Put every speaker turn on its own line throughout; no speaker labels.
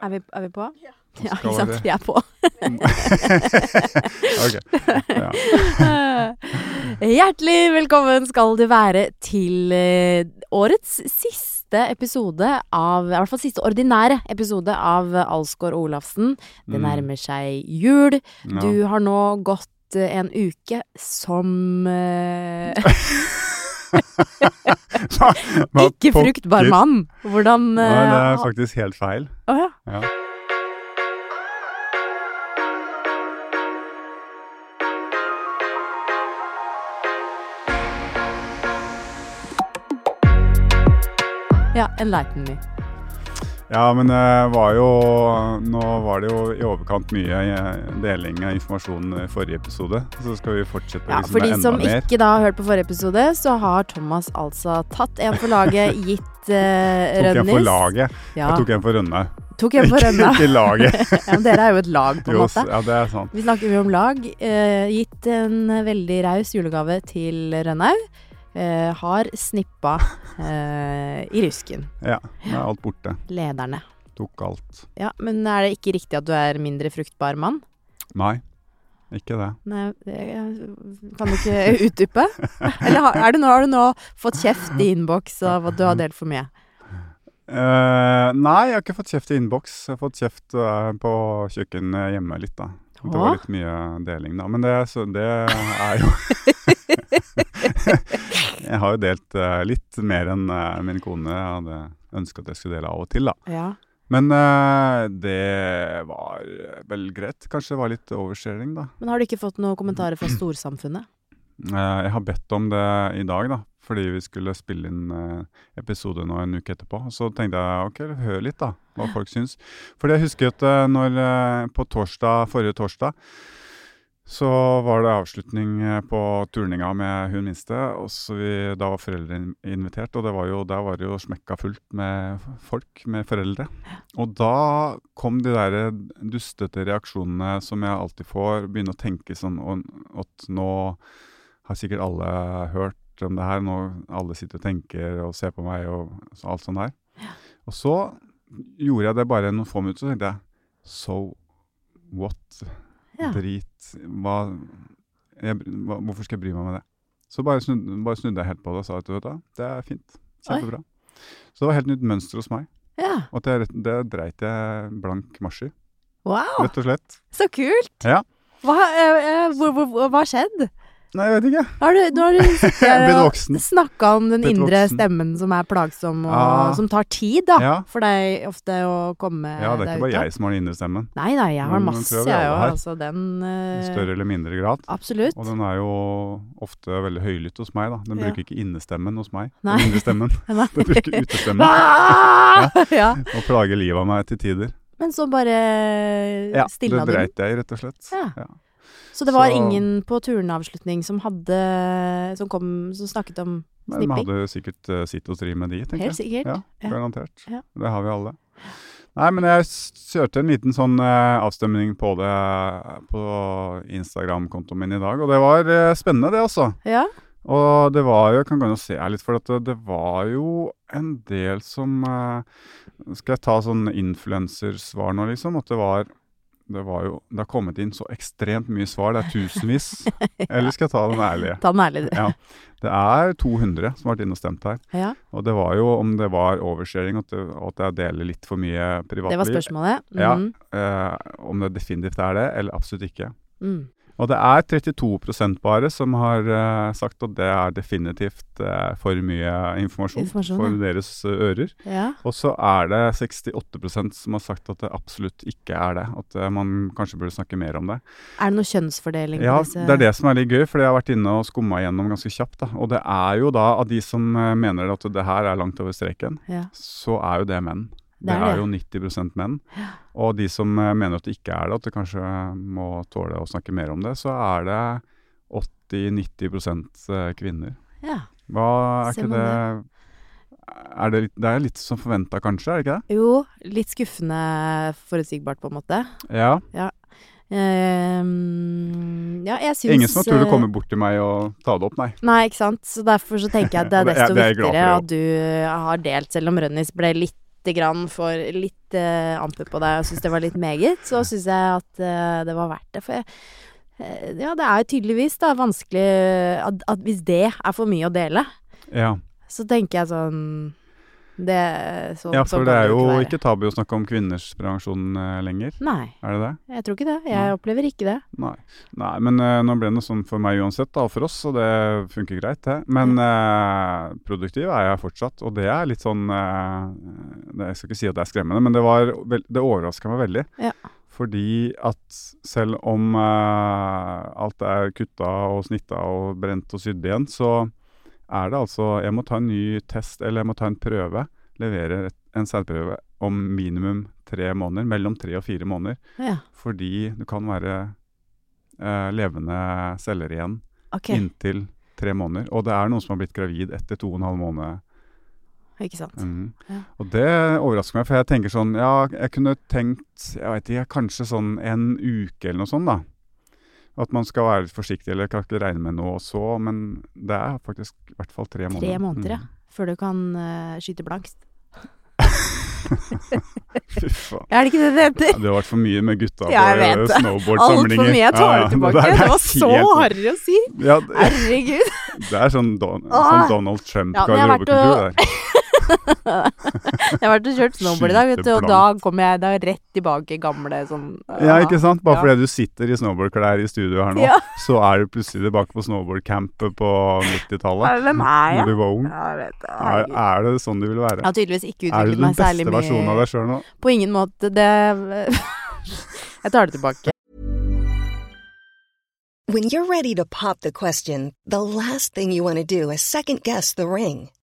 Er vi, er vi på? Ja,
Skal
ikke sant.
være-
Vi er på.
Ok. Ja.
Hjertelig velkommen skal du være til eh, årets siste episode av I hvert fall siste ordinære episode av Alsgaard Olafsen. Det
Mm.
nærmer seg jul.
Ja.
Du har nå gått eh, en uke som eh,
Hva
ikke
pokker?
fruktbar mann. Hvordan
Nei,
eh,
det er
ha-
faktisk helt feil.
Å ja.
Ja.
ja. Enlighten me.
Ja, men det var jo Nå var det jo i overkant mye eh, deling av informasjon i forrige episode, så skal vi fortsette
Ja,
liksom
for de
med
som
enda mer.
ikke da har hørt på forrige episode, så har Thomas altså tatt en for laget, gitt eh,
Tok jeg for
Rønnis.
laget?
Ja,
Jeg tok en for Rønne.
tok en for Rønna.
Ikke laget.
Ja, men dere er jo et lag, på en
Jo, s-
måte.
ja, det er sant.
Vi snakker mye om lag. Eh, gitt en veldig raus julegave til Rønnaug. Eh, har snippa eh, i rusken.
Ja, nå er alt borte.
Lederne.
Tok alt.
Ja, Men er det ikke riktig at du er mindre fruktbar mann?
Nei, ikke det.
Nei, det eh, kan du ikke utdype? Eller har, er det nå, har du nå fått kjeft i innboks av at du har delt for mye?
Eh, nei, jeg har ikke fått kjeft i innboks. Jeg har fått kjeft eh, på kjøkkenet hjemme litt, da.
Åh?
Det var litt mye deling, da. Men det, så det er jo Jeg har jo delt eh, litt mer enn eh, min kone hadde ønska at jeg skulle dele av og til, da.
Ja.
Men eh, det var eh, vel greit. Kanskje det var litt oversharing, da.
Men har du ikke fått noen kommentarer fra storsamfunnet?
Eh, jeg har bedt om det i dag, da. Fordi vi skulle spille inn eh, episode nå en uke etterpå. Så tenkte jeg ok, hør litt, da. Hva folk syns. Fordi jeg husker at eh, når eh, På torsdag, forrige torsdag så var det avslutning eh, på turninga med hun minste. Og så vi, da var foreldrene in- invitert, og det var jo, der var det jo smekka fullt med f- folk, med foreldre. Og da kom de der eh, dustete reaksjonene som jeg alltid får, begynne å tenke sånn «Å, at nå har sikkert alle hørt om det her. Nå alle sitter og tenker og ser på meg og så- alt sånt her. Og så gjorde jeg det bare noen få minutter, så tenkte jeg So what?
Ja.
Drit. Hva, jeg, br- hva, hvorfor skal jeg bry meg med det? Så bare snudde, bare snudde jeg helt på det og sa at vet du hva, det er fint.
Oi.
Kjempebra. Så det var helt nytt mønster hos meg.
Ja.
Og det, det dreit jeg blank marsj i,
Wow,
rett og slett.
så kult!
Ja.
Hva eh, eh, hvor- hvor- hvor- hva har skjedd?
Nei, jeg vet ikke.
Har du, nå har du sittet
Jeg
her
ble
og
voksen.
snakka om den
Blitt
indre
voksen.
stemmen som er plagsom, og
Ja.
som tar tid, da.
Ja.
For deg ofte å komme
Ja, det er ikke
deg ut
bare
av.
jeg som har den indre stemmen.
Nei, nei, jeg har
Men den
masse,
tror jeg
jeg
vi alle
òg.
har.
Altså den
I
eh,
større eller mindre grad.
Absolutt.
Og den er jo ofte veldig høylytt hos meg, da. Den
Ja.
bruker ikke innestemmen hos meg.
Nei.
Den indre stemmen.
Nei.
Den bruker utestemmen.
Ah! ja.
Og plager livet av meg til tider.
Men så bare
Ja, det
stilna du den.
dreit jeg i, rett og slett.
Ja.
Ja.
Så det var
Så-
ingen på turneavslutning som hadde Som kom Som snakket om
Men vi
Snipping.
hadde jo sikkert eh, sitt å stri med de, tenker
Helt
jeg.
sikkert.
Ja,
Ja.
garantert.
Ja.
Det har vi alle. Nei, men jeg s- kjørte en liten sånn eh, avstemning på det eh, på Instagram-kontoen min i dag, og det var eh, spennende, det, altså.
Ja.
Og det var jo, jeg kan gå inn og se her litt, for at det, det var jo en del som eh, Skal jeg ta sånn influensersvar nå, liksom? At det var det var jo, det har kommet inn så ekstremt mye svar. Det er tusenvis. Eller skal jeg ta den ærlige?
Ta den ærlig, du.
Ja. Det er 200 som har vært inne og stemt her.
Ja,
Og det var jo om det var oversharing, at, det- at jeg deler litt for mye
det var
privatliv.
spørsmålet. Mm.
Ja. Eh, om det definitivt er det, eller absolutt ikke.
Mm.
Og det er 32 bare som har eh, sagt at det er definitivt eh, for mye informasjon,
Informasjon,
for
ja.
deres eh, ører.
ja.
Og så er det 68 som har sagt at det absolutt ikke er det. At eh, man kanskje burde snakke mer om det.
Er det noe kjønnsfordeling
Ja,
på disse
det er det som er litt gøy, fordi jeg har vært inne og skumma gjennom ganske kjapt. Da. Og det er jo da av de som eh, mener at det her er langt over streken,
Ja.
så er jo det menn.
Det
Det
er
er,
det.
jo 90 menn. Og de som eh, mener at det ikke er det, at det kanskje må tåle å snakke mer om det, så er det 80-90 eh, kvinner.
Ja.
Hva er
Ser
ikke
man
det er det, litt- det er litt som forventa, kanskje? er det ikke
Jo, litt skuffende forutsigbart, på en måte.
det? Ja.
Ehm, ja, jeg syns
Ingen som har tur til å
eh,
komme bort til meg og ta det opp, nei.
Nei, ikke sant. Så derfor så tenker jeg at eh, det er
Og det er-
desto
det er jeg glad for,
viktigere at du har delt, selv om Rønnis ble litt lite grann for litt eh, amper på deg og syns det var litt meget, så syns jeg at eh, det var verdt det. For jeg, eh, ja, det er tydeligvis da vanskelig eh, at, at hvis det er for mye å dele,
Ja.
så tenker jeg sånn det, sånn,
ja,
sånn kan
for det er jo
være.
ikke tabu å snakke om kvinners prevensjon eh, lenger.
Nei,
Er det det?
jeg tror ikke det. Jeg
Nei.
opplever ikke det.
Nei. Nei, men eh, nå ble det noe sånn for meg uansett, da, og for oss, så det funker greit, det. Men eh, produktiv er jeg fortsatt, og det er litt sånn eh, det, Jeg skal ikke si at det er skremmende, men det, var, vel- det overraska meg veldig.
Ja.
Fordi at selv om eh, alt er kutta og snitta og brent og sydd igjen, så er det altså Jeg må ta en ny test, eller jeg må ta en prøve, levere et- en særprøve om minimum tre måneder. Mellom tre og fire måneder.
Ja,
Fordi det kan være eh, levende celler igjen
ok.
inntil tre måneder. Og det er noen som har blitt gravid etter to og en halv måned.
Ikke sant.
Mhm.
Ja.
Og det overrasker meg, for jeg tenker sånn Ja, jeg kunne tenkt jeg vet ikke, kanskje sånn en uke eller noe sånt, da. At man skal være litt forsiktig, eller kan ikke regne med noe og så. Men det er faktisk i hvert fall tre måneder.
Tre måneder, ja.
Mhm.
Før du kan eh, skyte blankt.
Mm. Fy faen.
Er det ikke det det heter?
Ja, det har vært for mye med gutta på
Ja, jeg
eh,
vet det. Altfor
snowboard-samlinger.
mye. Jeg tar det tilbake.
der
Det
er
var så
helt-
harry å si.
Ja, det-
Herregud.
Det er sånn, Don,
Åh!
sånn Donald
Ja, men jeg har vært
Trump-garderobekultur der.
Jeg har vært og kjørt snowboard i dag, vet du, og
Skyte
da kom jeg da rett tilbake i gamle sånn
Ja, ikke sant? Bare
Ja.
fordi du sitter i snowboardklær i studio her nå,
Ja.
så er du plutselig tilbake på snowboardcamp på 90-tallet.
Ja, Hvem er
Når
jeg?
du var ung.
Ja, jeg vet det.
Er,
Herregud.
er det sånn du vil
Jeg
være?
har tydeligvis ikke
Er du
utviklet
den
meg særlig
beste versjonen av
mye.
deg sjøl nå?
På ingen måte. Det Jeg tar det tilbake.
When you're ready to pop the question, the last thing you want to do is second guess the ring.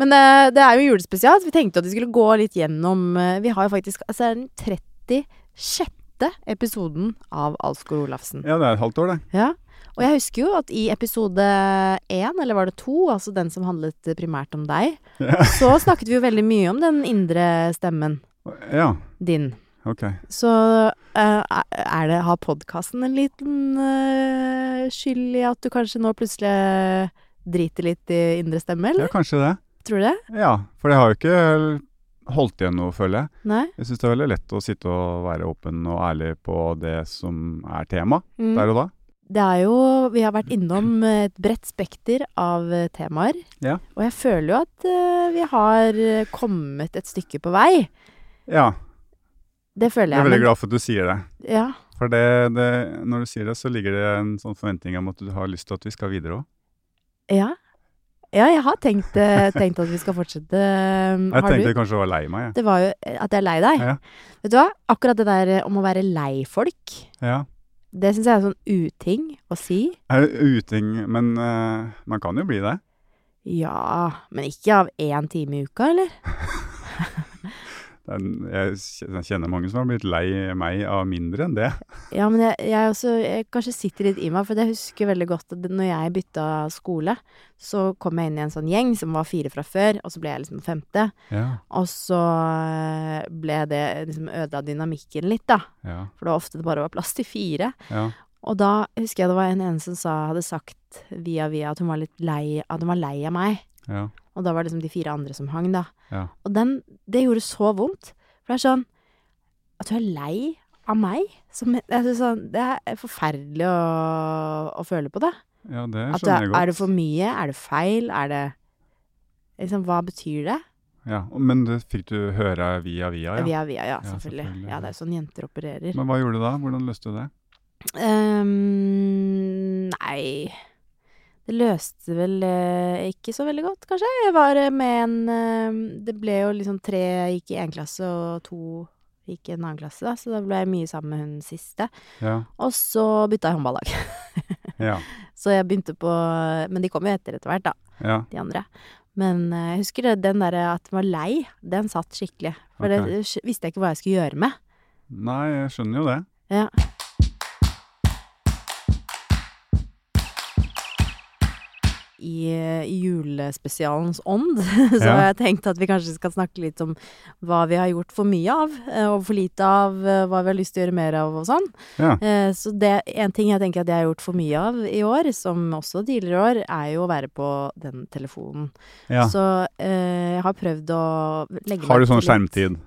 Men eh, det er jo julespesial. så Vi tenkte at vi skulle gå litt gjennom eh, Vi har jo faktisk altså, det er den 36. episoden av Alsgaard Olafsen.
Ja, det er et halvt år, det.
Ja. Og jeg husker jo at i episode én, eller var det to, altså den som handlet primært om deg, så snakket vi jo veldig mye om den indre stemmen
Ja,
din.
ok.
Så eh, er det Har podkasten en liten eh, skyld i at du kanskje nå plutselig driter litt i indre stemme,
Ja,
eller?
kanskje det.
Tror du det?
Ja, for jeg har jo ikke holdt igjen noe, føler jeg.
Nei?
Jeg syns det er veldig lett å sitte og være åpen og ærlig på det som er tema
Mm.
der og da.
Det er jo Vi har vært innom eh, et bredt spekter av eh, temaer.
Ja.
Og jeg føler jo at eh, vi har eh, kommet et stykke på vei.
Ja,
Det føler
jeg
jeg.
er veldig
men-
glad for at du sier det.
Ja.
For det, det, når du sier det, så ligger det en sånn forventning om at du har lyst til at vi skal videre òg.
Ja. Ja, jeg har tenkt, eh, tenkt at vi skal fortsette. eh,
Jeg
Har
tenkte
du?
jeg kanskje var lei meg, jeg.
Det var jo eh, at jeg er lei deg.
Ja.
Vet du hva? Akkurat det der eh, om å være lei folk,
Ja.
det syns jeg er en sånn uting å si.
Er det uting Men eh, man kan jo bli det.
Ja, men ikke av én time i uka, eller?
Det er en- Jeg kj- jeg kjenner mange som har blitt lei meg av mindre enn det.
Ja, men jeg, jeg, også, jeg kanskje sitter litt i meg, for jeg husker veldig godt at når jeg bytta skole, så kom jeg inn i en sånn gjeng som var fire fra før, og så ble jeg liksom femte.
Ja,
Og så eh, ble det liksom ødela dynamikken litt, da.
ja,
For det var ofte det bare var plass til fire.
ja.
Og da husker jeg det var en ene som sa, hadde sagt via via at hun var litt lei, at hun var lei av meg.
ja.
Og da var det liksom de fire andre som hang, da.
Ja.
Og den, det gjorde så vondt. For det er sånn At du er lei av meg? Som, jeg synes sånn, det er forferdelig å, å føle på det.
ja det
At det,
skjønner jeg godt.
er det for mye? Er det feil? Er det Liksom, hva betyr det?
ja. Men det fikk du høre via via, ja.
Via via, ja, selvfølgelig.
selvfølgelig,
Ja,
ja.
det er jo sånn jenter opererer.
Men hva gjorde du da? Hvordan løste du det?
Ehm, nei Det løste vel eh, ikke så veldig godt, kanskje. Jeg var eh, med en eh, Det ble jo liksom tre gikk i én klasse, og to gikk i en annen klasse, da, så da ble jeg mye sammen med hun siste.
Ja,
Og så bytta jeg håndballag.
ja,
Så jeg begynte på Men de kom jo etter etter hvert, da,
ja.
de andre. Men eh, jeg husker det, den derre at den var lei, den satt skikkelig. For
Ok.
det sk- visste jeg ikke hva jeg skulle gjøre med.
Nei, jeg skjønner jo det.
Ja. I, eh, i julespesialens ånd så
Ja.
har jeg tenkt at vi kanskje skal snakke litt om hva vi har gjort for mye av, eh, og for lite av, eh, hva vi har lyst til å gjøre mer av og sånn.
Ja.
Eh, Så det en ting jeg tenker at jeg har gjort for mye av i år, som også tidligere år, er jo å være på den telefonen.
ja.
Så eh, jeg har prøvd å legge
Har
meg
du sånn
til litt-
skjermtid?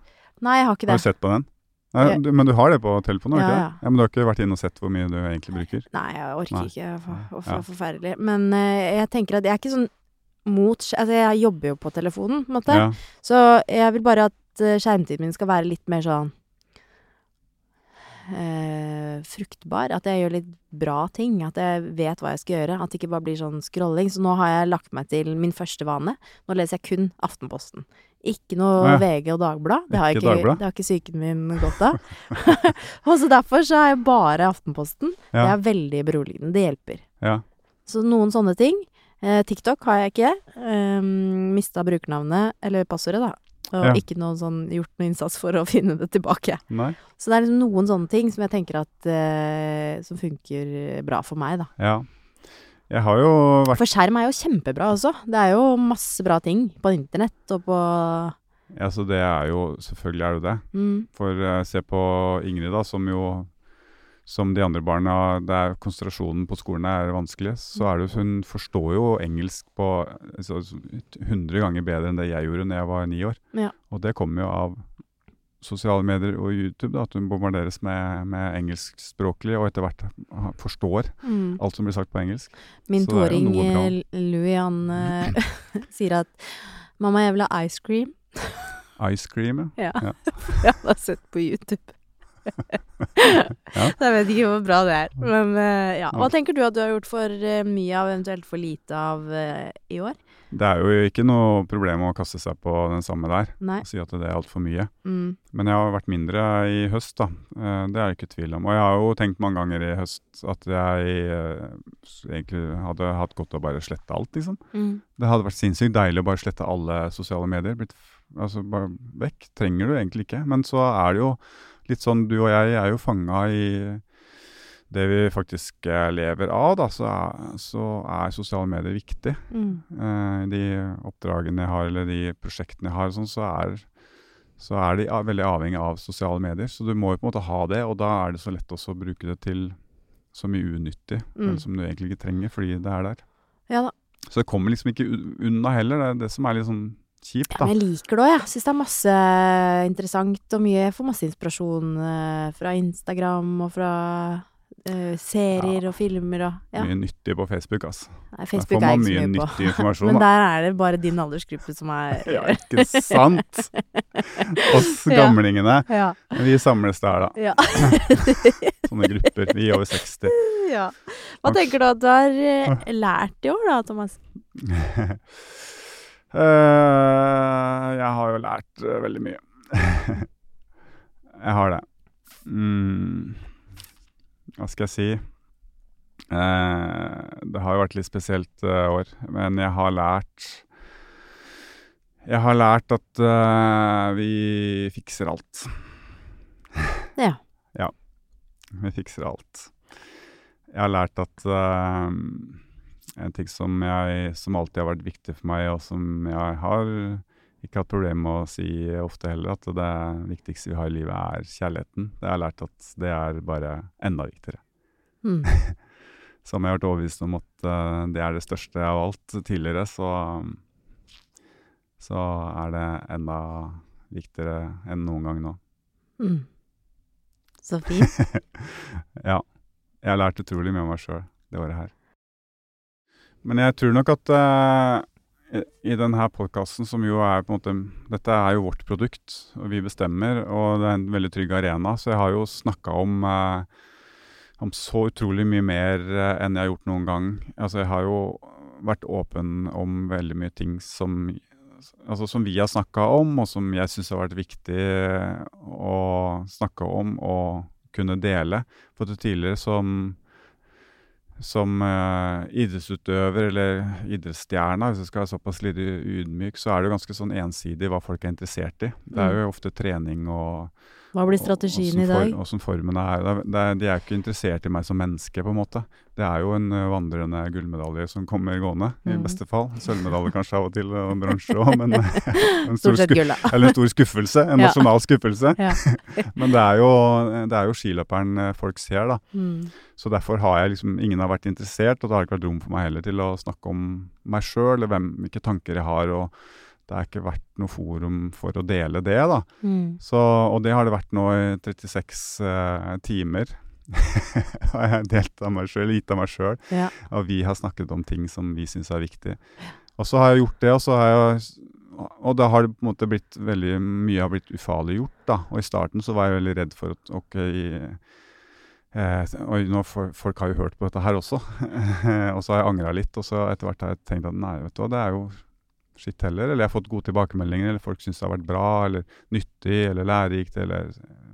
Nei, jeg har ikke
Har
det.
du sett på den? Nei,
Ja.
du, men du har det på telefonen, har du
Ja,
ikke det?
ja.
Ja, men du har ikke vært inne og sett hvor mye du egentlig bruker?
Nei, jeg orker
Nei.
ikke. for- Uff, det
Ja.
er forferdelig. Men eh, jeg tenker at jeg er ikke sånn mot skj- Altså, jeg jobber jo på telefonen, på en måte.
Ja.
Så jeg vil bare at eh, skjermtiden min skal være litt mer sånn eh, fruktbar. At jeg gjør litt bra ting. At jeg vet hva jeg skal gjøre. At det ikke bare blir sånn scrolling. Så nå har jeg lagt meg til min første vane. Nå leser jeg kun Aftenposten. Ikke noe
Å ja.
VG og Dagblad. Det har,
Ikke
ikke,
Dagblad?
det har ikke psyken min godt av. og så derfor så har jeg bare Aftenposten. Det
Ja.
er veldig beroligende. Det hjelper.
ja.
Så noen sånne ting. Eh, TikTok har jeg ikke. Um, Mista brukernavnet, eller passordet, da. Og
Ja.
ikke noen sånn, gjort noen innsats for å finne det tilbake.
Nei.
Så det er liksom noen sånne ting som jeg tenker at eh, Som funker bra for meg, da.
Ja. Jeg har jo vært
For skjerm er jo kjempebra også. Det er jo masse bra ting på internett og på
Ja, så altså det er jo Selvfølgelig er det det.
mm,
For eh, se på Ingrid, da, som jo som de andre barna, der konsentrasjonen på skolen er vanskelig, så er det, jo- hun forstår jo engelsk på altså, 100 ganger bedre enn det jeg gjorde når jeg var ni år.
Ja.
Og det kommer jo av sosiale medier og YouTube, da, at hun bombarderes med, med engelskspråklig og etter hvert ha- forstår
mm.
alt som blir sagt på engelsk.
Min
Så det er jo
toåring
noe bra.
eh, Louis, han eh, sier at 'Mamma, jeg vil ha ice cream'.
Ice cream, ja.
Ja. For jeg har sett på YouTube. Så jeg vet ikke hvor bra det er.
Mm.
Men eh, ja. Hva tenker du at du har gjort for eh, mye av, eventuelt for lite av, eh, i år?
Det er jo ikke noe problem å kaste seg på den samme der
Nei.
og si at det er altfor mye.
Mm.
Men jeg har vært mindre i høst, da. Eh, Det er det ikke tvil om. Og jeg har jo tenkt mange ganger i høst at jeg eh, s- egentlig hadde hatt godt av bare å slette alt, liksom.
Mm.
Det hadde vært sinnssykt deilig å bare slette alle sosiale medier. Blitt, f- altså bare vekk. Trenger du egentlig ikke. Men så er det jo litt sånn Du og jeg er jo fanga i det vi faktisk eh, lever av, da. Så er, så er sosiale medier viktig.
Mm.
Eh, de oppdragene jeg har, eller de prosjektene jeg har, og sånn, så, er, så er de a- veldig avhengig av sosiale medier. Så du må jo på en måte ha det, og da er det så lett også å bruke det til så mye unyttig
Mm.
eller som du egentlig ikke trenger, fordi det er der.
Ja da.
Så det kommer liksom ikke u- unna heller. Det er det som er litt sånn kjipt,
Men
da.
jeg liker det òg, jeg. Syns det er masse interessant og mye. Jeg får masse inspirasjon eh, fra Instagram og fra eh, serier og filmer og ja.
Mye nyttig på Facebook, altså.
Nei,
Der
Facebook
får
er jeg ikke
man mye
så mye på.
nyttig informasjon,
Men
da.
der er det bare din aldersgruppe som er
Ja, ikke sant? Oss
Ja.
gamlingene,
ja.
vi samles der, da.
ja.
Sånne grupper. Vi over 60.
Ja. Hva tenker du at du har
Ah.
eh, lært i år da, Thomas?
Eh, jeg har jo lært eh, veldig mye. jeg har det. Mm. Hva skal jeg si? Eh, det har jo vært litt spesielt eh, år, men jeg har lært Jeg har lært at eh, vi fikser alt.
Ja.
Ja. Vi fikser alt. Jeg har lært at eh, en ting som, jeg, som alltid har vært viktig for meg, og som jeg har ikke hatt problemer med å si ofte heller, at det viktigste vi har i livet, er kjærligheten. Det har jeg lært at det er bare enda viktigere.
Mm.
Som jeg har vært overbevist om at eh, det er det største av alt tidligere, så, så er det enda viktigere enn noen gang nå.
Mm. Så fint.
Ja. Jeg har lært utrolig mye om meg sjøl det året her. Men jeg tror nok at eh, i- i denne podkasten, som jo er på en måte Dette er jo vårt produkt, og vi bestemmer, og det er en veldig trygg arena. Så jeg har jo snakka om, eh, om så utrolig mye mer eh, enn jeg har gjort noen gang. Altså, jeg har jo vært åpen om veldig mye ting som Altså som vi har snakka om, og som jeg syns har vært viktig eh, å snakke om og kunne dele. For til tidligere som som eh, idrettsutøver eller idrettsstjerne, hvis jeg skal være såpass litt ydmyk, så er det jo ganske sånn ensidig hva folk er interessert i. Det er jo ofte trening og
Hva blir
og-
strategien
åssen
i dag?
For, åssen formen er. Det er- Det er, de er jo ikke interessert i meg som menneske, på en måte. Det er jo en ø, vandrende gullmedalje som kommer gående, i
Mm.
beste fall. Sølvmedalje kanskje av og til, eh, og en bransje òg, men en stor
Stort sett
skuff-
gull, da.
eller en stor skuffelse. En
Ja.
nasjonal skuffelse.
Ja.
Men det er jo, eh, det er jo skiløperen ø, folk ser, da.
Mm.
Så derfor har jeg liksom Ingen har vært interessert, og det har ikke vært rom for meg heller til å snakke om meg sjøl, eller hvem, hvilke tanker jeg har. og det har ikke vært noe forum for å dele det, da.
Mm.
Så, og det har det vært nå i 36 eh, timer. har jeg delt av meg sjøl, gitt av meg sjøl.
Ja.
Og vi har snakket om ting som vi syns er viktig. Og så har jeg gjort det, og så har jeg og da har det på en måte blitt veldig mye har blitt ufarliggjort. da. Og i starten så var jeg veldig redd for at ok eh, Oi, nå for, folk har jo hørt på dette her også. og så har jeg angra litt, og så etter hvert har jeg tenkt at nei, vet du hva, det er jo skitt heller. Eller jeg har fått gode tilbakemeldinger, eller folk syns det har vært bra, eller nyttig, eller lærerikt, eller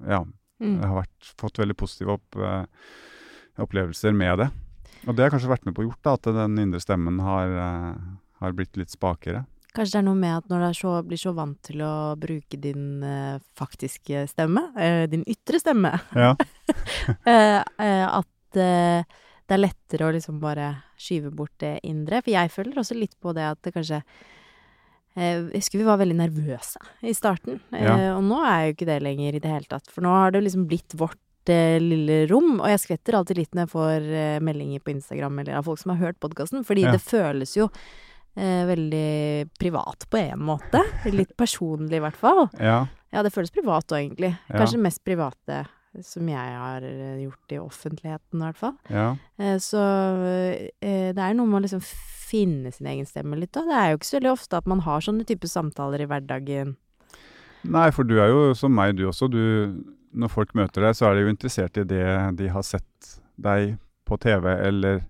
Ja. Jeg
Mm.
har vært, fått veldig positive opp, eh, opplevelser med det. Og det har kanskje vært med på å gjort, da, at den indre stemmen har, eh, har blitt litt spakere.
Kanskje det er noe med at når du er så, blir så vant til å bruke din eh, faktiske stemme, eh, din ytre stemme,
Ja.
eh, eh, at eh, det er lettere å liksom bare skyve bort det indre. For jeg føler også litt på det at det kanskje eh, Jeg husker vi var veldig nervøse i starten, eh,
Ja.
og nå er jo ikke det lenger i det hele tatt. For nå har det jo liksom blitt vårt eh, lille rom, og jeg skvetter alltid litt når jeg får eh, meldinger på Instagram eller av folk som har hørt podkasten, fordi
Ja.
det føles jo eh, veldig privat på en måte. Litt personlig i hvert fall.
ja.
Ja, det føles privat òg, egentlig.
Ja.
Kanskje det mest private som jeg har eh, gjort i offentligheten, i hvert fall.
Ja.
Eh, Så eh, det er noe med å liksom finne sin egen stemme litt, da. Det er jo ikke så veldig ofte at man har sånne type samtaler i hverdagen.
Nei, for du er jo som meg, du også. Du, når folk møter deg, så er de jo interessert i det de har sett deg på TV, eller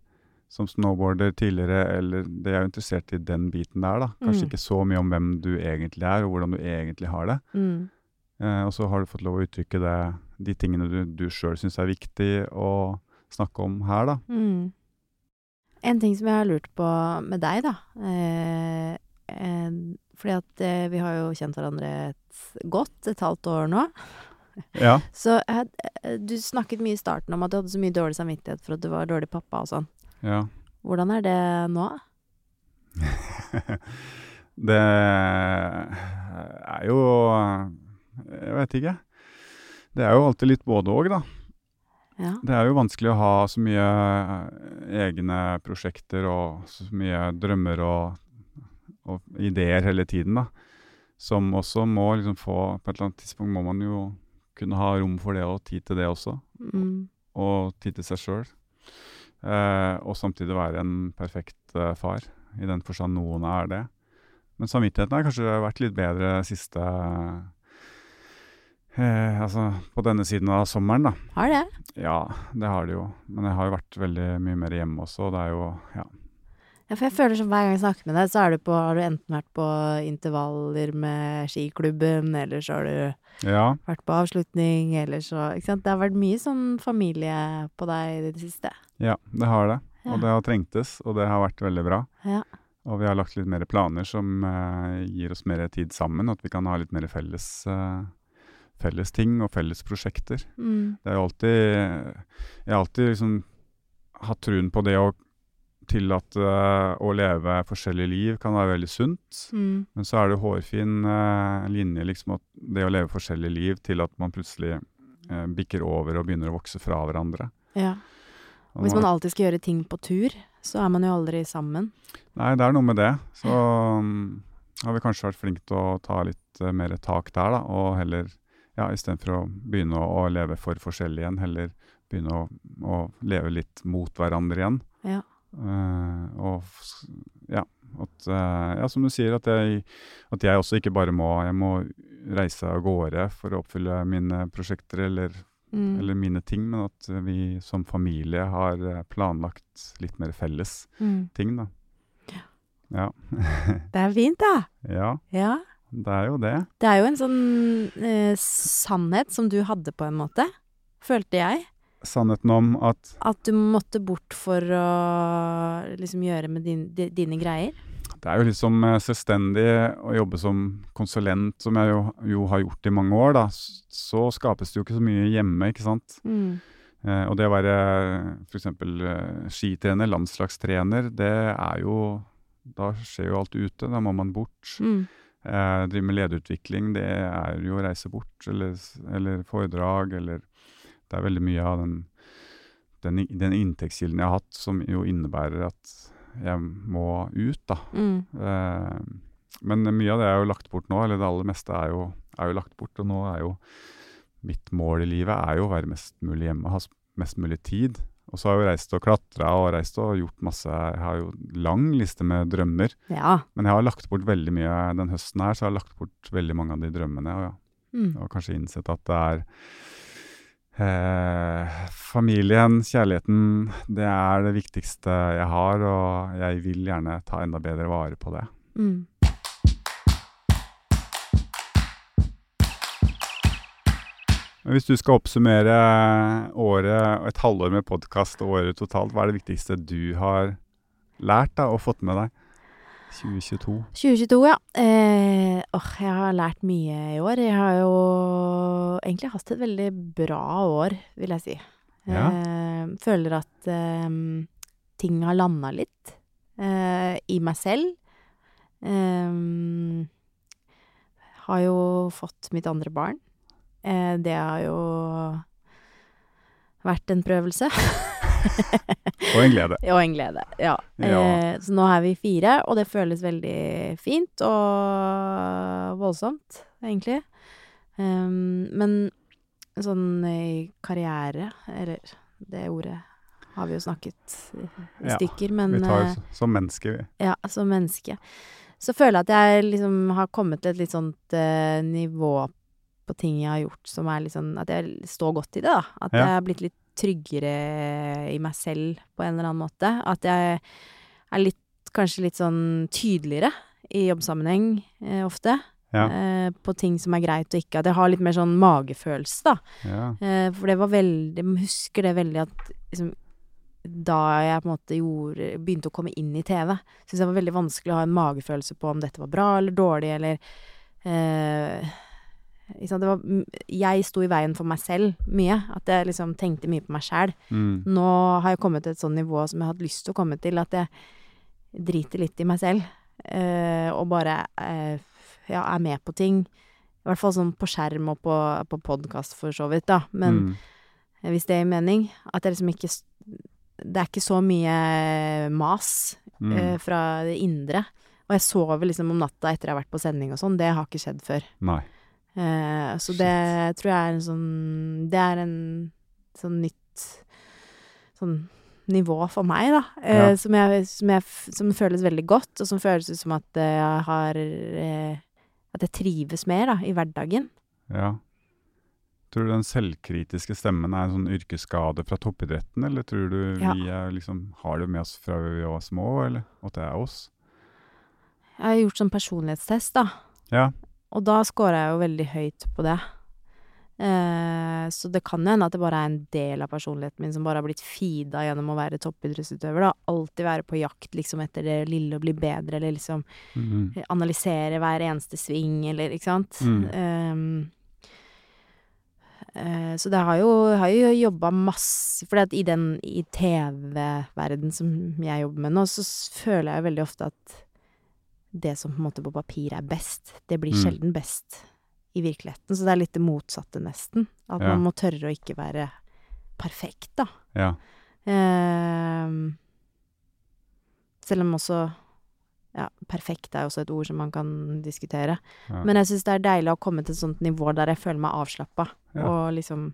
som snowboarder tidligere, eller De er jo interessert i den biten der, da. Kanskje
Mm.
ikke så mye om hvem du egentlig er, og hvordan du egentlig har det.
Mm.
Eh, og så har du fått lov å uttrykke det, de tingene du, du sjøl syns er viktig å snakke om her, da.
Mm. En ting som jeg har lurt på med deg, da. Eh, eh, fordi at eh, vi har jo kjent hverandre et godt et halvt år nå.
Ja.
Så eh, du snakket mye i starten om at du hadde så mye dårlig samvittighet for at du var dårlig pappa og sånn.
ja.
Hvordan er det nå?
det er jo Jeg vet ikke. Det er jo alltid litt både òg, da.
Ja.
Det er jo vanskelig å ha så mye eh, egne prosjekter og så mye drømmer og, og ideer hele tiden, da. Som også må liksom få På et eller annet tidspunkt må man jo kunne ha rom for det og tid til det også.
Mm.
og tid til seg sjøl. Eh, og samtidig være en perfekt eh, far, i den forstand noen er det. Men samvittigheten har kanskje vært litt bedre siste eh, Altså på denne siden av sommeren, da.
Har det.
Ja, det har det jo. Men jeg har jo vært veldig mye mer hjemme også, og det er jo Ja.
Ja, for jeg føler som hver gang jeg snakker med deg, så er du på, har du enten vært på intervaller med skiklubben, eller så har du
ja.
vært på avslutning, eller så Ikke sant. Det har vært mye sånn familie på deg i det siste.
Ja, det har det.
Ja.
Og det har trengtes, og det har vært veldig bra.
Ja.
Og vi har lagt litt mer planer som eh, gir oss mer tid sammen, at vi kan ha litt mer felles, eh, felles ting og felles prosjekter.
Mm.
Det er jo alltid Jeg har alltid liksom hatt truen på det å tillate eh, å leve forskjellige liv kan være veldig sunt.
Mm.
Men så er det hårfin eh, linje, liksom at det å leve forskjellige liv til at man plutselig eh, bikker over og begynner å vokse fra hverandre.
ja. Og
Og
hvis
når-
man alltid skal gjøre ting på tur, så er man jo aldri sammen.
Nei, det er noe med det. Så um, har vi kanskje vært flinke til å ta litt eh, mer tak der, da. Og heller, ja, istedenfor å begynne å, å leve for forskjellig igjen, heller begynne å, å leve litt mot hverandre igjen.
Ja.
Eh, og s- ja, at, eh, ja, som du sier, at jeg, at jeg også ikke bare må Jeg må reise av gårde for å oppfylle mine prosjekter eller,
Mm.
eller mine ting, men at vi som familie har eh, planlagt litt mer felles
Mm.
ting, da. Ja.
Det er fint, da.
Ja,
Ja.
det er jo det.
Det er jo en sånn eh, sannhet som du hadde, på en måte. Følte jeg.
sannheten om at
At du måtte bort for å liksom gjøre med din, di- dine greier?
det er jo liksom eh, selvstendig å jobbe som konsulent, som jeg jo, jo har gjort i mange år, da, s- så skapes det jo ikke så mye hjemme, ikke sant?
Mm.
Eh, og det å være f.eks. skitrener, landslagstrener, det er jo Da skjer jo alt ute. Da må man bort.
Mm.
Eh, drive med lederutvikling, det er jo å reise bort, eller, s- eller foredrag, eller Det er veldig mye av den, den, i- den inntektskilden jeg har hatt, som jo innebærer at jeg må ut, da.
Mm.
Eh, men mye av det er jo lagt bort nå, eller det aller meste er jo, er jo lagt bort. Og nå er jo mitt mål i livet er jo å være mest mulig hjemme, ha s- mest mulig tid. Og så har jeg jo reist og klatra og reist og gjort masse Jeg har jo lang liste med drømmer.
Ja.
Men jeg har lagt bort veldig mye den høsten her, så jeg har lagt bort veldig mange av de drømmene. Og, ja,
Mm.
og kanskje innsett at det er eh, familien, kjærligheten, det er det viktigste jeg har. Og jeg vil gjerne ta enda bedre vare på det.
Mm.
Men Hvis du skal oppsummere året, et halvår med podkast og året totalt, hva er det viktigste du har lært da, og fått med deg? 2022.
2022, ja. Eh, åh, jeg har lært mye i år. Jeg har jo egentlig hatt et veldig bra år, vil jeg si.
Ja.
Eh, føler at eh, ting har landa litt eh, i meg selv. Eh, har jo fått mitt andre barn. Eh, det har jo vært en prøvelse.
Og en glede.
Og en glede, ja.
Ja.
Eh, så nå er vi fire, og det føles veldig fint og voldsomt, egentlig. Ehm, men sånn i karriere, eller det ordet har vi jo snakket i i
Ja,
stykker, men
Vi tar
eh,
jo s- som mennesker, vi.
ja, som menneske. Så føler jeg at jeg liksom har kommet til et litt sånt eh, nivå på ting jeg har gjort, som er litt sånn At jeg står godt i det, da. At
Ja.
jeg har blitt litt tryggere i meg selv på en eller annen måte. At jeg er litt, kanskje litt sånn tydeligere i jobbsammenheng eh, ofte.
Ja.
Eh, på ting som er greit og ikke. At jeg har litt mer sånn magefølelse, da.
Ja.
Eh, For det var veldig jeg Husker det veldig at liksom, da jeg på en måte gjorde, begynte å komme inn i TV, syntes jeg det var veldig vanskelig å ha en magefølelse på om dette var bra eller dårlig, eller eh, ikke sant? Det var, m- jeg sto i veien for meg selv mye. At jeg liksom tenkte mye på meg sjæl.
Mm.
Nå har jeg kommet til et sånn nivå som jeg har hatt lyst til å komme til, at jeg driter litt i meg selv. eh, og bare eh, ja, er med på ting. I hvert fall sånn på skjerm og på, på podkast, for så vidt, da. Men
mm.
eh, hvis det gir mening. At jeg liksom ikke s- Det er ikke så mye eh, mas
Mm.
eh, fra det indre. Og jeg sover liksom om natta etter jeg har vært på sending og sånn. Det har ikke skjedd før.
Nei.
Eh, så
Shit.
det tror jeg er en sånn Det er en sånn nytt sånn nivå for meg, da. Eh,
Ja.
som, jeg, som, jeg, f- som føles veldig godt, og som føles ut som at eh, jeg har eh, At jeg trives mer, da, i hverdagen.
Ja. Tror du den selvkritiske stemmen er en sånn yrkesskade fra toppidretten, eller tror du
Ja.
vi er liksom, har det med oss fra vi var små, eller at det er oss?
Jeg har gjort sånn personlighetstest, da.
Ja.
Og da scora jeg jo veldig høyt på det. Eh, så det kan jo hende at det bare er en del av personligheten min som bare har blitt feeda gjennom å være toppidrettsutøver. Da. Alltid være på jakt liksom, etter det lille og bli bedre, eller liksom
Mhm.
analysere hver eneste sving, eller ikke sant.
Mm.
Ehm, eh, så det har jo, har jo jobba masse For i den i TV-verden som jeg jobber med nå, så s- føler jeg veldig ofte at det som på en måte på papir er best, det blir
Mm.
sjelden best i virkeligheten. Så det er litt det motsatte, nesten. At
Ja.
man må tørre å ikke være perfekt, da.
Ja.
Ehm, selv om også ja, perfekt er jo også et ord som man kan diskutere.
Ja.
Men jeg syns det er deilig å komme til et sånt nivå der jeg føler meg avslappa
Ja.
og liksom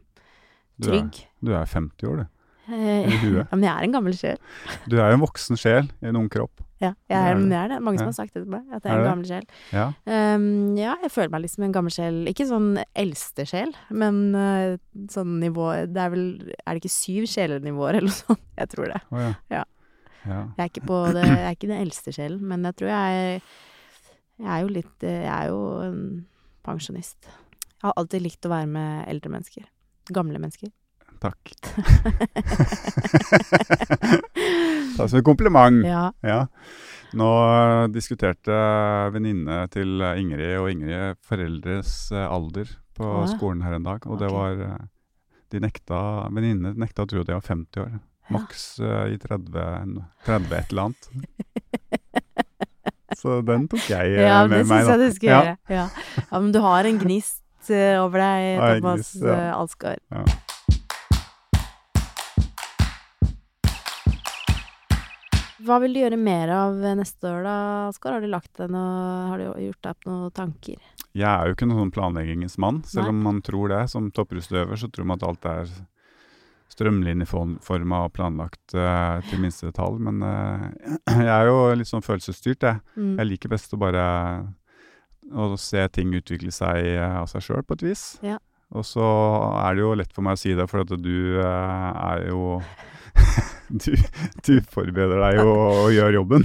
Du er,
trygg.
du er 50 år, du.
Eh,
i huet.
ja, men jeg er en gammel sjel.
Du er jo en voksen sjel i en ung kropp.
Ja, jeg
Ja, er
er,
du?
men jeg er det. Mange som
Ja.
har sagt det til meg, at jeg
Er
er en
det?
gammel sjel.
Ja.
Ehm, ja, jeg føler meg liksom en gammel sjel. Ikke sånn eldste sjel, men eh, sånn nivå Det er vel Er det ikke syv sjelenivåer eller noe sånt? Jeg tror det.
Å, ja.
Ja.
ja.
Jeg er ikke, på det, jeg er ikke den eldste sjelen, men jeg tror jeg Jeg er jo litt eh, Jeg er jo en pensjonist. Jeg har alltid likt å være med eldre mennesker. Gamle mennesker.
takk. Takk som en kompliment.
Ja.
Ja. Nå eh, diskuterte venninne til eh, Ingrid og Ingrid foreldres eh, alder på
Å, ja.
skolen her en dag. Og
Ok.
det var eh, De nekta Venninnene nekta å tro at de var 50 år. Maks eh, i 30, 30 et eller annet. Så den tok jeg eh,
ja, men det
med meg,
syns
da.
jeg du skal
Ja.
gjøre. Ja. ja, Men du har en gnist eh, over deg,
Har jeg en
Thomas
gnist, ja.
eh, Alsgaard. Hva vil du gjøre mer av eh, neste år, da, Alsgaard? Har du lagt deg noe Har du gjort deg opp noen tanker?
Jeg er jo ikke noen sånn planleggingens mann, selv
Nei.
om man tror det. Som topprustøver så tror man at alt er strømlinjeforma og planlagt eh, til minste detalj. Men eh, jeg er jo litt sånn følelsesstyrt, jeg.
Mm.
Jeg liker best å bare å se ting utvikle seg eh, av seg sjøl, på et vis.
Ja.
Og så er det jo lett for meg å si det, for at du eh, er jo du, du forbereder deg jo og gjør jobben.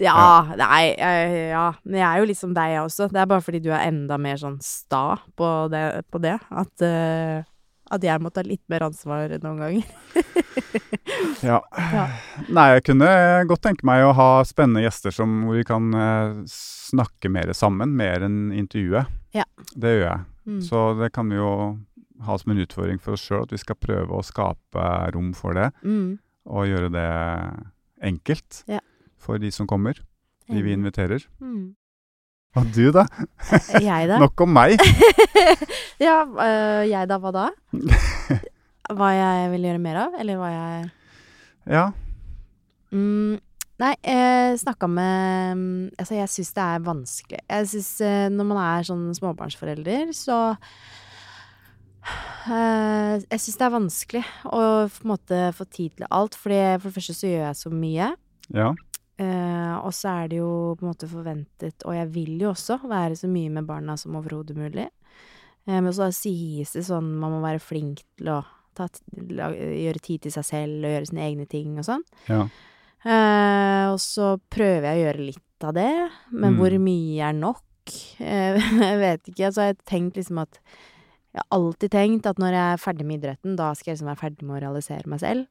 Ja, nei, eh, ja. Men jeg er jo litt som deg, jeg også. Det er bare fordi du er enda mer sånn sta på det. På det at, eh, at jeg må ta litt mer ansvar noen ganger.
Ja.
Ja.
Nei, jeg kunne godt tenke meg å ha spennende gjester som, hvor vi kan eh, snakke mer sammen, mer enn intervjuet.
Ja.
Det gjør jeg.
Mm.
Så det kan vi jo ha som en utfordring for oss sjøl, at vi skal prøve å skape rom for det,
Mm.
og gjøre det enkelt
Ja.
for de som kommer, de vi inviterer.
Mm.
Og du, da?
Jeg, da?
Nok om meg!
ja, øh, jeg da, hva da? Hva jeg vil gjøre mer av, eller hva jeg
Ja.
mm, Nei, eh, snakka med mm, Altså, jeg syns det er vanskelig. Jeg syns eh, når man er sånn småbarnsforelder, så eh, Jeg syns det er vanskelig å på en måte få tid til alt, fordi for det første så gjør jeg så mye.
ja.
Eh, og så er det jo på en måte forventet, og jeg vil jo også være så mye med barna som overhodet mulig. Eh, men så sies det sånn man må være flink til å ta, t- la, gjøre tid til seg selv og gjøre sine egne ting og sånn.
Ja.
Eh, og så prøver jeg å gjøre litt av det, men
Mm.
hvor mye er nok? Eh, jeg vet ikke. Altså, jeg har tenkt liksom at Jeg har alltid tenkt at når jeg er ferdig med idretten, da skal jeg liksom være ferdig med å realisere meg selv.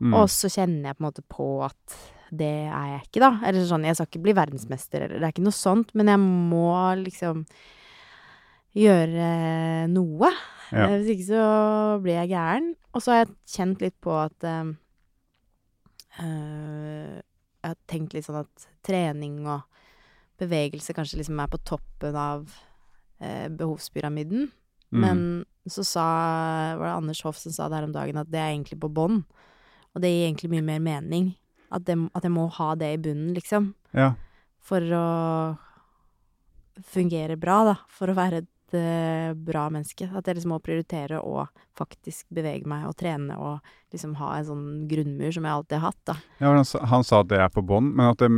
Mm.
Og så kjenner jeg på en måte på at det er jeg ikke, da. Eller sånn, jeg skal ikke bli verdensmester, eller det er ikke noe sånt, men jeg må liksom gjøre noe.
Ja.
Eh, Hvis ikke så blir jeg gæren. Og så har jeg kjent litt på at eh, eh, Jeg har tenkt litt sånn at trening og bevegelse kanskje liksom er på toppen av eh, behovspyramiden.
Mm.
Men så sa, var det Anders Hoff som sa det her om dagen, at det er egentlig på bånn. Og det gir egentlig mye mer mening. At, det, at jeg må ha det i bunnen, liksom.
ja.
For å fungere bra, da. For å være et eh, bra menneske. At jeg liksom må prioritere å faktisk bevege meg og trene og liksom ha en sånn grunnmur som jeg alltid har hatt, da.
Ja, han, sa, han sa at det er på bånn, men at det,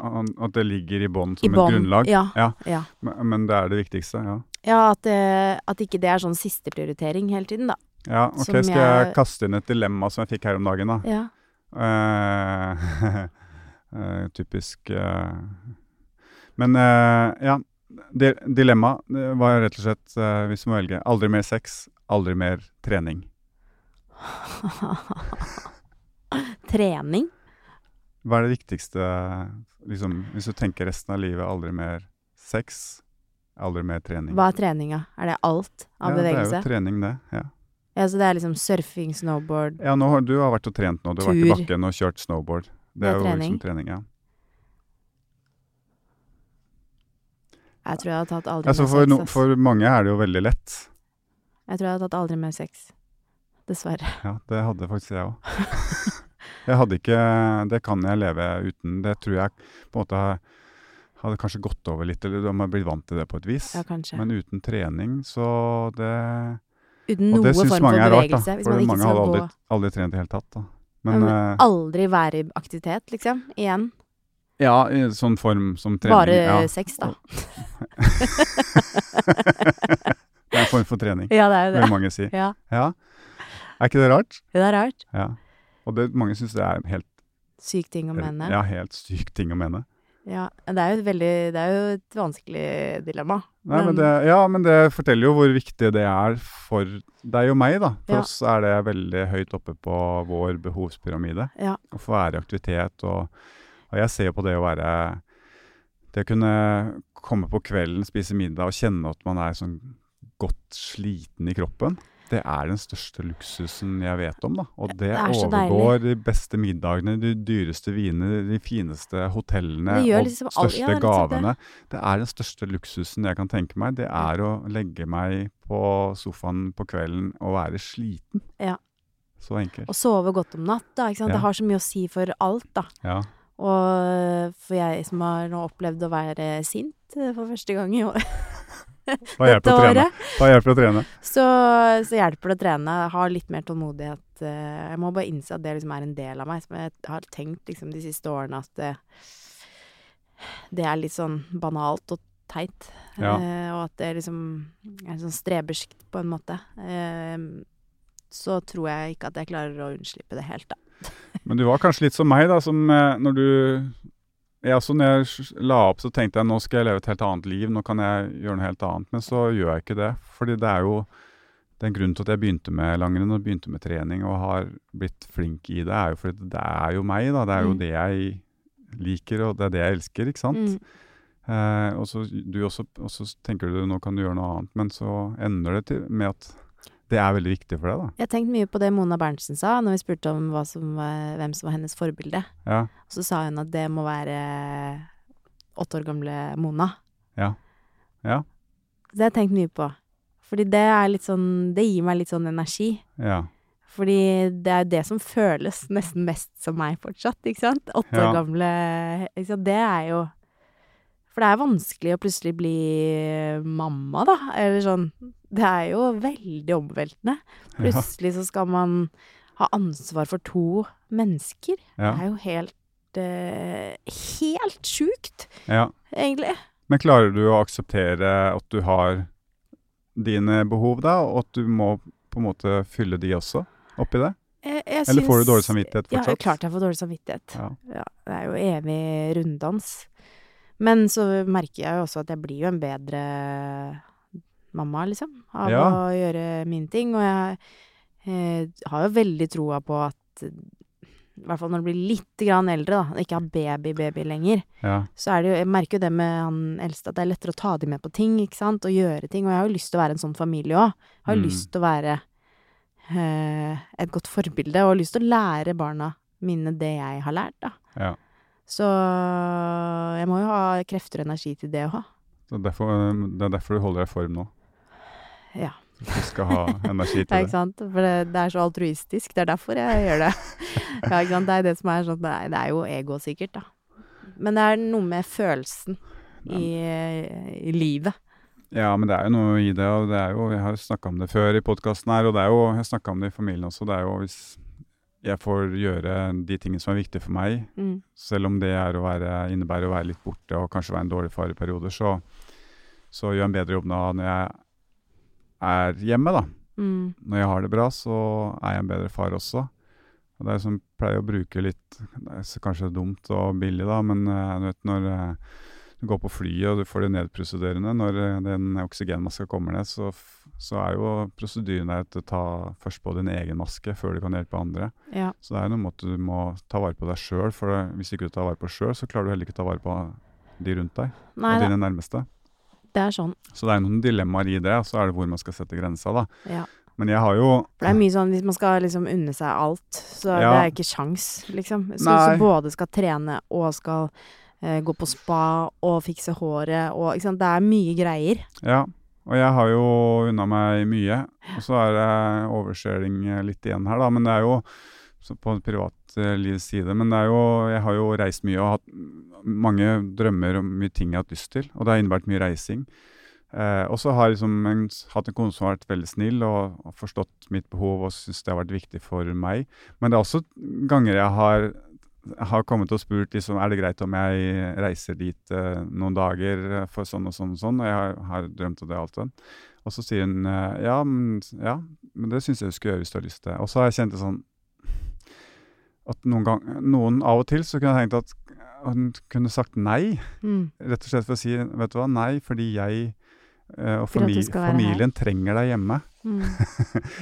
han- at det ligger i bånn som
I
et
bånn,
grunnlag.
ja,
Ja.
ja.
Men, men det er det viktigste, ja.
Ja, at, eh, at ikke det er sånn sisteprioritering hele tiden, da.
ja ok,
Som
skal jeg
jeg-
kaste inn et dilemma som jeg fikk her om dagen, da?
Ja.
Eh, eh, typisk eh. Men eh, ja, di dilemma eh, var rett og slett, eh, hvis vi må velge, aldri mer sex, aldri mer trening.
Trening.
Hva er det viktigste, liksom, hvis du tenker resten av livet, aldri mer sex, aldri mer trening?
Hva er treninga? Er det alt av
ja, Det
bevegelse?
er jo trening det, ja.
Ja, så det er liksom surfing, snowboard
Ja, nå har, du har vært og trent nå, du har vært i
Tur.
bakken og kjørt snowboard. Det
Det
er
er
jo
trening.
liksom trening, ja.
Jeg tror jeg hadde tatt aldri
Altså,
mer
for,
sex.
no,
ass.
for mange er det jo veldig lett.
Jeg tror jeg hadde tatt aldri mer sex. Dessverre.
Ja, det hadde faktisk jeg òg. jeg hadde ikke Det kan jeg leve uten. Det tror jeg på en måte hadde kanskje gått over litt, eller man blir vant til det på et vis.
Ja, kanskje.
Men uten trening, så det
Uten
Og
noe
det
form
syns
for
mange er rart, da.
bevegelse. hvis man
For
ikke
mange
skal
hadde
gå
aldri, aldri trent i det hele tatt. da.
Ja,
Men eh,
Aldri være i aktivitet, liksom. Igjen.
ja, i sånn form som trening
Bare
ja.
sex, da.
Det er en form for trening,
Ja, det er jo
vil
det.
mange si.
Ja,
Ja. Er ikke det rart?
Det er rart.
Ja. Og det, mange syns det er helt,
Syk ting å mene.
ja, helt syk ting å mene.
Ja, det er jo et veldig Det er jo et vanskelig dilemma.
Nei, men det, ja, men det forteller jo hvor viktig det er for deg og meg, da. For
Ja.
oss er det veldig høyt oppe på vår behovspyramide.
Ja.
Å få være i aktivitet og Og jeg ser jo på det å være Det å kunne komme på kvelden, spise middag og kjenne at man er sånn godt sliten i kroppen. Det er den største luksusen jeg vet om, da. Og det,
det er så
overgår de beste middagene, de dyreste vinene, de fineste hotellene
Det gjør
og
liksom alt-
største
ja, det er litt sånn
gavene. Det er den største luksusen jeg kan tenke meg. Det er å legge meg på sofaen på kvelden og være sliten.
Ja.
Så enkelt.
Å sove godt om natt, da. Ikke sant?
Ja.
Det har så mye å si for alt, da.
Ja.
Og for jeg som har nå opplevd å være sint eh, for første gang i år,
Da hjelper det å trene. Da hjelper det å trene.
så, så hjelper det å trene. Ha litt mer tålmodighet. eh, Jeg må bare innse at det liksom er en del av meg, som jeg har tenkt liksom de siste årene at det, det er litt sånn banalt og teit.
Ja.
Eh, og at det liksom er sånn strebersk på en måte. Eh, så tror jeg ikke at jeg klarer å unnslippe det helt, da.
Men du var kanskje litt som meg, da, som eh, når du jeg også, når jeg s- la opp, så tenkte jeg nå skal jeg leve et helt annet liv, nå kan jeg gjøre noe helt annet. Men så gjør jeg ikke det. Fordi det er jo den grunnen til at jeg begynte med langrenn og begynte med trening og har blitt flink i det, er jo fordi det er jo meg, da. Det er jo
Mm.
det jeg liker, og det er det jeg elsker, ikke sant.
Mm.
Eh, og så du også, og så tenker du nå kan du gjøre noe annet, men så ender det til, med at det er veldig viktig for deg,
Jeg har tenkt mye på det Mona Berntsen sa når vi spurte om hva som var, hvem som var hennes forbilde.
da. Ja,
Så sa hun at det må være åtte år gamle Mona.
Ja. Ja.
Det har jeg tenkt mye på. Fordi det er litt sånn Det gir meg litt sånn energi.
ja,
Fordi det er det som føles nesten mest som meg fortsatt, ikke sant? Åtte
Ja.
år gamle ikke sant? Det er jo For det er vanskelig å plutselig bli mamma, da. Eller sånn Det er jo veldig omveltende.
ja,
Plutselig så skal man ha ansvar for to mennesker.
ja,
Det er jo helt eh, Helt sjukt,
ja.
egentlig.
Men klarer du å akseptere at du har dine behov da, og at du må på en måte fylle de også oppi det?
Jeg, jeg
Eller får du
syns-
dårlig samvittighet
Ja,
fortsatt?
klart jeg får dårlig samvittighet.
Ja.
Ja, det er jo evig runddans. Men så merker jeg jo også at jeg blir jo en bedre mamma, liksom, av
Ja.
å gjøre mine ting. Og jeg eh, har jo veldig troa på at i hvert fall når du blir litt grann eldre, da, og ikke har baby-baby lenger,
Ja,
så er det jo Jeg merker jo det med han eldste, at det er lettere å ta de med på ting, ikke sant, og gjøre ting. Og jeg har jo lyst til å være en sånn familie òg. Har jo
Mm.
lyst til å være eh, et godt forbilde, og har lyst til å lære barna mine det jeg har lært, da.
ja.
Så jeg må jo ha krefter og energi til det òg.
Så derfor, um, det er derfor du holder deg i form nå?
Ja.
Så Du skal ha energi
Ja,
til
ikke
det?
sant? For det, det er så altruistisk. Det er derfor jeg gjør det. Ja, ikke sant? Det er det som er sånn Nei, det er jo ego, sikkert, da. Men det er noe med følelsen i, i livet.
Ja, men det er jo noe i det, og det er jo, jeg har snakka om det før i podkasten her, og det er jo, jeg snakka om det i familien også, det er jo hvis jeg får gjøre de tingene som er viktige for meg,
Mm.
selv om det er å være, innebærer å være litt borte og kanskje være en dårlig far i perioder, så, så gjør jeg en bedre jobb da når jeg er hjemme. da.
Mm.
Når jeg har det bra, så er jeg en bedre far også. Og det er som pleier å bruke litt det er så Kanskje dumt og billig, da, men eh, du vet når eh, du går på flyet og du får det nedprosedyrende Når eh, den oksygenmaska kommer ned, så, f- så er jo prosedyren der at du tar først på din egen maske før du kan hjelpe andre.
Ja.
Så det er noe med at du må ta vare på deg sjøl, for det- hvis ikke du tar vare på deg sjøl, så klarer du heller ikke å ta vare på de rundt deg
Nei,
og
det,
dine nærmeste.
det er sånn.
Så det er noen dilemmaer i det, og så er det hvor man skal sette grensa, da.
Ja.
Men jeg har jo
For det er mye sånn hvis man skal liksom unne seg alt, så
Ja.
det er ikke sjans, liksom. Så,
Nei.
så både skal trene og skal eh, gå på spa og fikse håret og ikke sant? Det er mye greier.
Ja. Og jeg har jo unna meg mye. Og så er det overskjæring eh, litt igjen her, da. Men det er jo så på privatlivets side. Men det er jo, jeg har jo reist mye og hatt mange drømmer og mye ting jeg har hatt lyst til. Og det har innebært mye reising. Eh, og så har jeg liksom en, hatt en kone som har vært veldig snill og, og forstått mitt behov og syns det har vært viktig for meg. Men det er også ganger jeg har, har kommet og spurt liksom, er det greit om jeg reiser dit eh, noen dager eh, for sånn og sånn og sånn. Og jeg har, har drømt om det alt den. Og så sier hun eh, ja, men, ja, men det syns jeg du skal gjøre hvis du har lyst til det. Og så har jeg kjent det sånn at noen, gang, noen av og til så kunne jeg tenkt at han kunne sagt nei,
Mm.
rett og slett for å si vet du hva, nei, fordi jeg eh,
Vil
og
at du
famili
skal være her.
familien trenger deg hjemme.
Mm.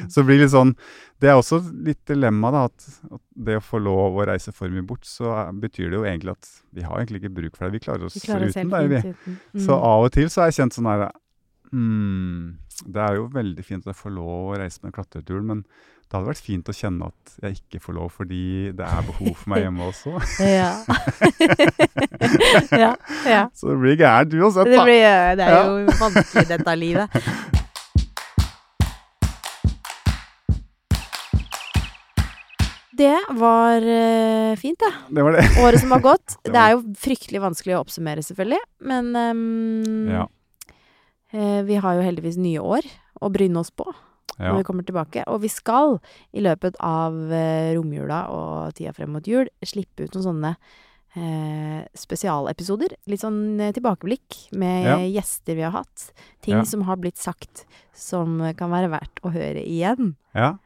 Så det blir litt sånn Det er også litt dilemma, da, at, at det å få lov å reise for mye bort, så er, betyr det jo egentlig at vi har egentlig ikke bruk for deg. Vi klarer oss,
Vi klarer oss helt
uten deg, vi.
fint uten. Mm.
Så av og til så har jeg kjent sånn her hmm, Det er jo veldig fint å få lov å reise med klatreturen, men det hadde vært fint å kjenne at jeg ikke får lov fordi det er behov for meg hjemme også.
Ja. ja. ja.
Så det blir gærent uansett,
Det,
da.
blir, eh, det er
Ja.
jo vanskelig dette livet. Det var eh, fint, det.
Det var det.
Året som har gått.
Det
Det,
var-
er jo fryktelig vanskelig å oppsummere, selvfølgelig. Men ehm,
Ja.
eh, vi har jo heldigvis nye år å bryne oss på
Ja.
når vi kommer tilbake. Og vi skal i løpet av eh, romjula og tida frem mot jul slippe ut noen sånne eh, spesialepisoder. Litt sånn eh, tilbakeblikk med
Ja.
eh, gjester vi har hatt. Ting
Ja.
som har blitt sagt som eh, kan være verdt å høre igjen.
ja.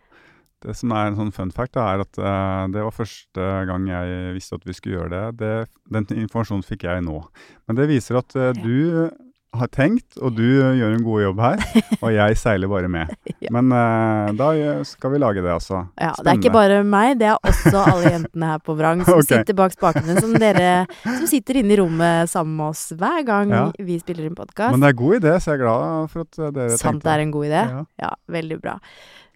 Det som er en sånn fun fact, da, er at eh, det var første gang jeg visste at vi skulle gjøre det. det den informasjonen fikk jeg nå. Men det viser at eh,
Ja.
du har tenkt, og du gjør en god jobb her. Og jeg seiler bare med.
Ja.
Men eh, da eh, skal vi lage det, altså.
Ja, Det er ikke bare meg, det er også alle jentene her på Vrang som
Ok.
sitter bak spakene, som dere som sitter inne i rommet sammen med oss hver gang
Ja.
vi spiller inn
Men
podkast.
det er god idé, så jeg er glad for at eh, dere
Sant det
tenkte
er en god idé.
Ja.
Sånn Ja, veldig bra.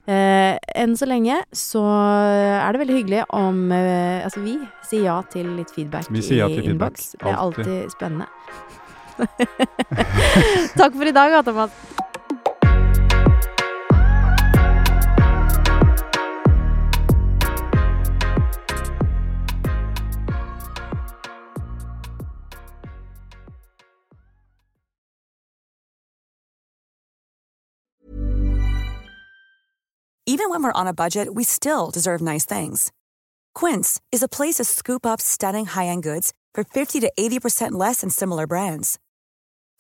Eh, enn så lenge så er det veldig hyggelig om eh, Altså, vi sier ja til litt feedback
Vi sier ja
i
til feedback,
innboks. Det er
alltid.
alltid spennende. Takk for i dag, da, Thomas.
Even when we're on a budget, we still deserve nice things. Quince is a place to scoop up stunning high end goods for 50 to 80% less than similar brands.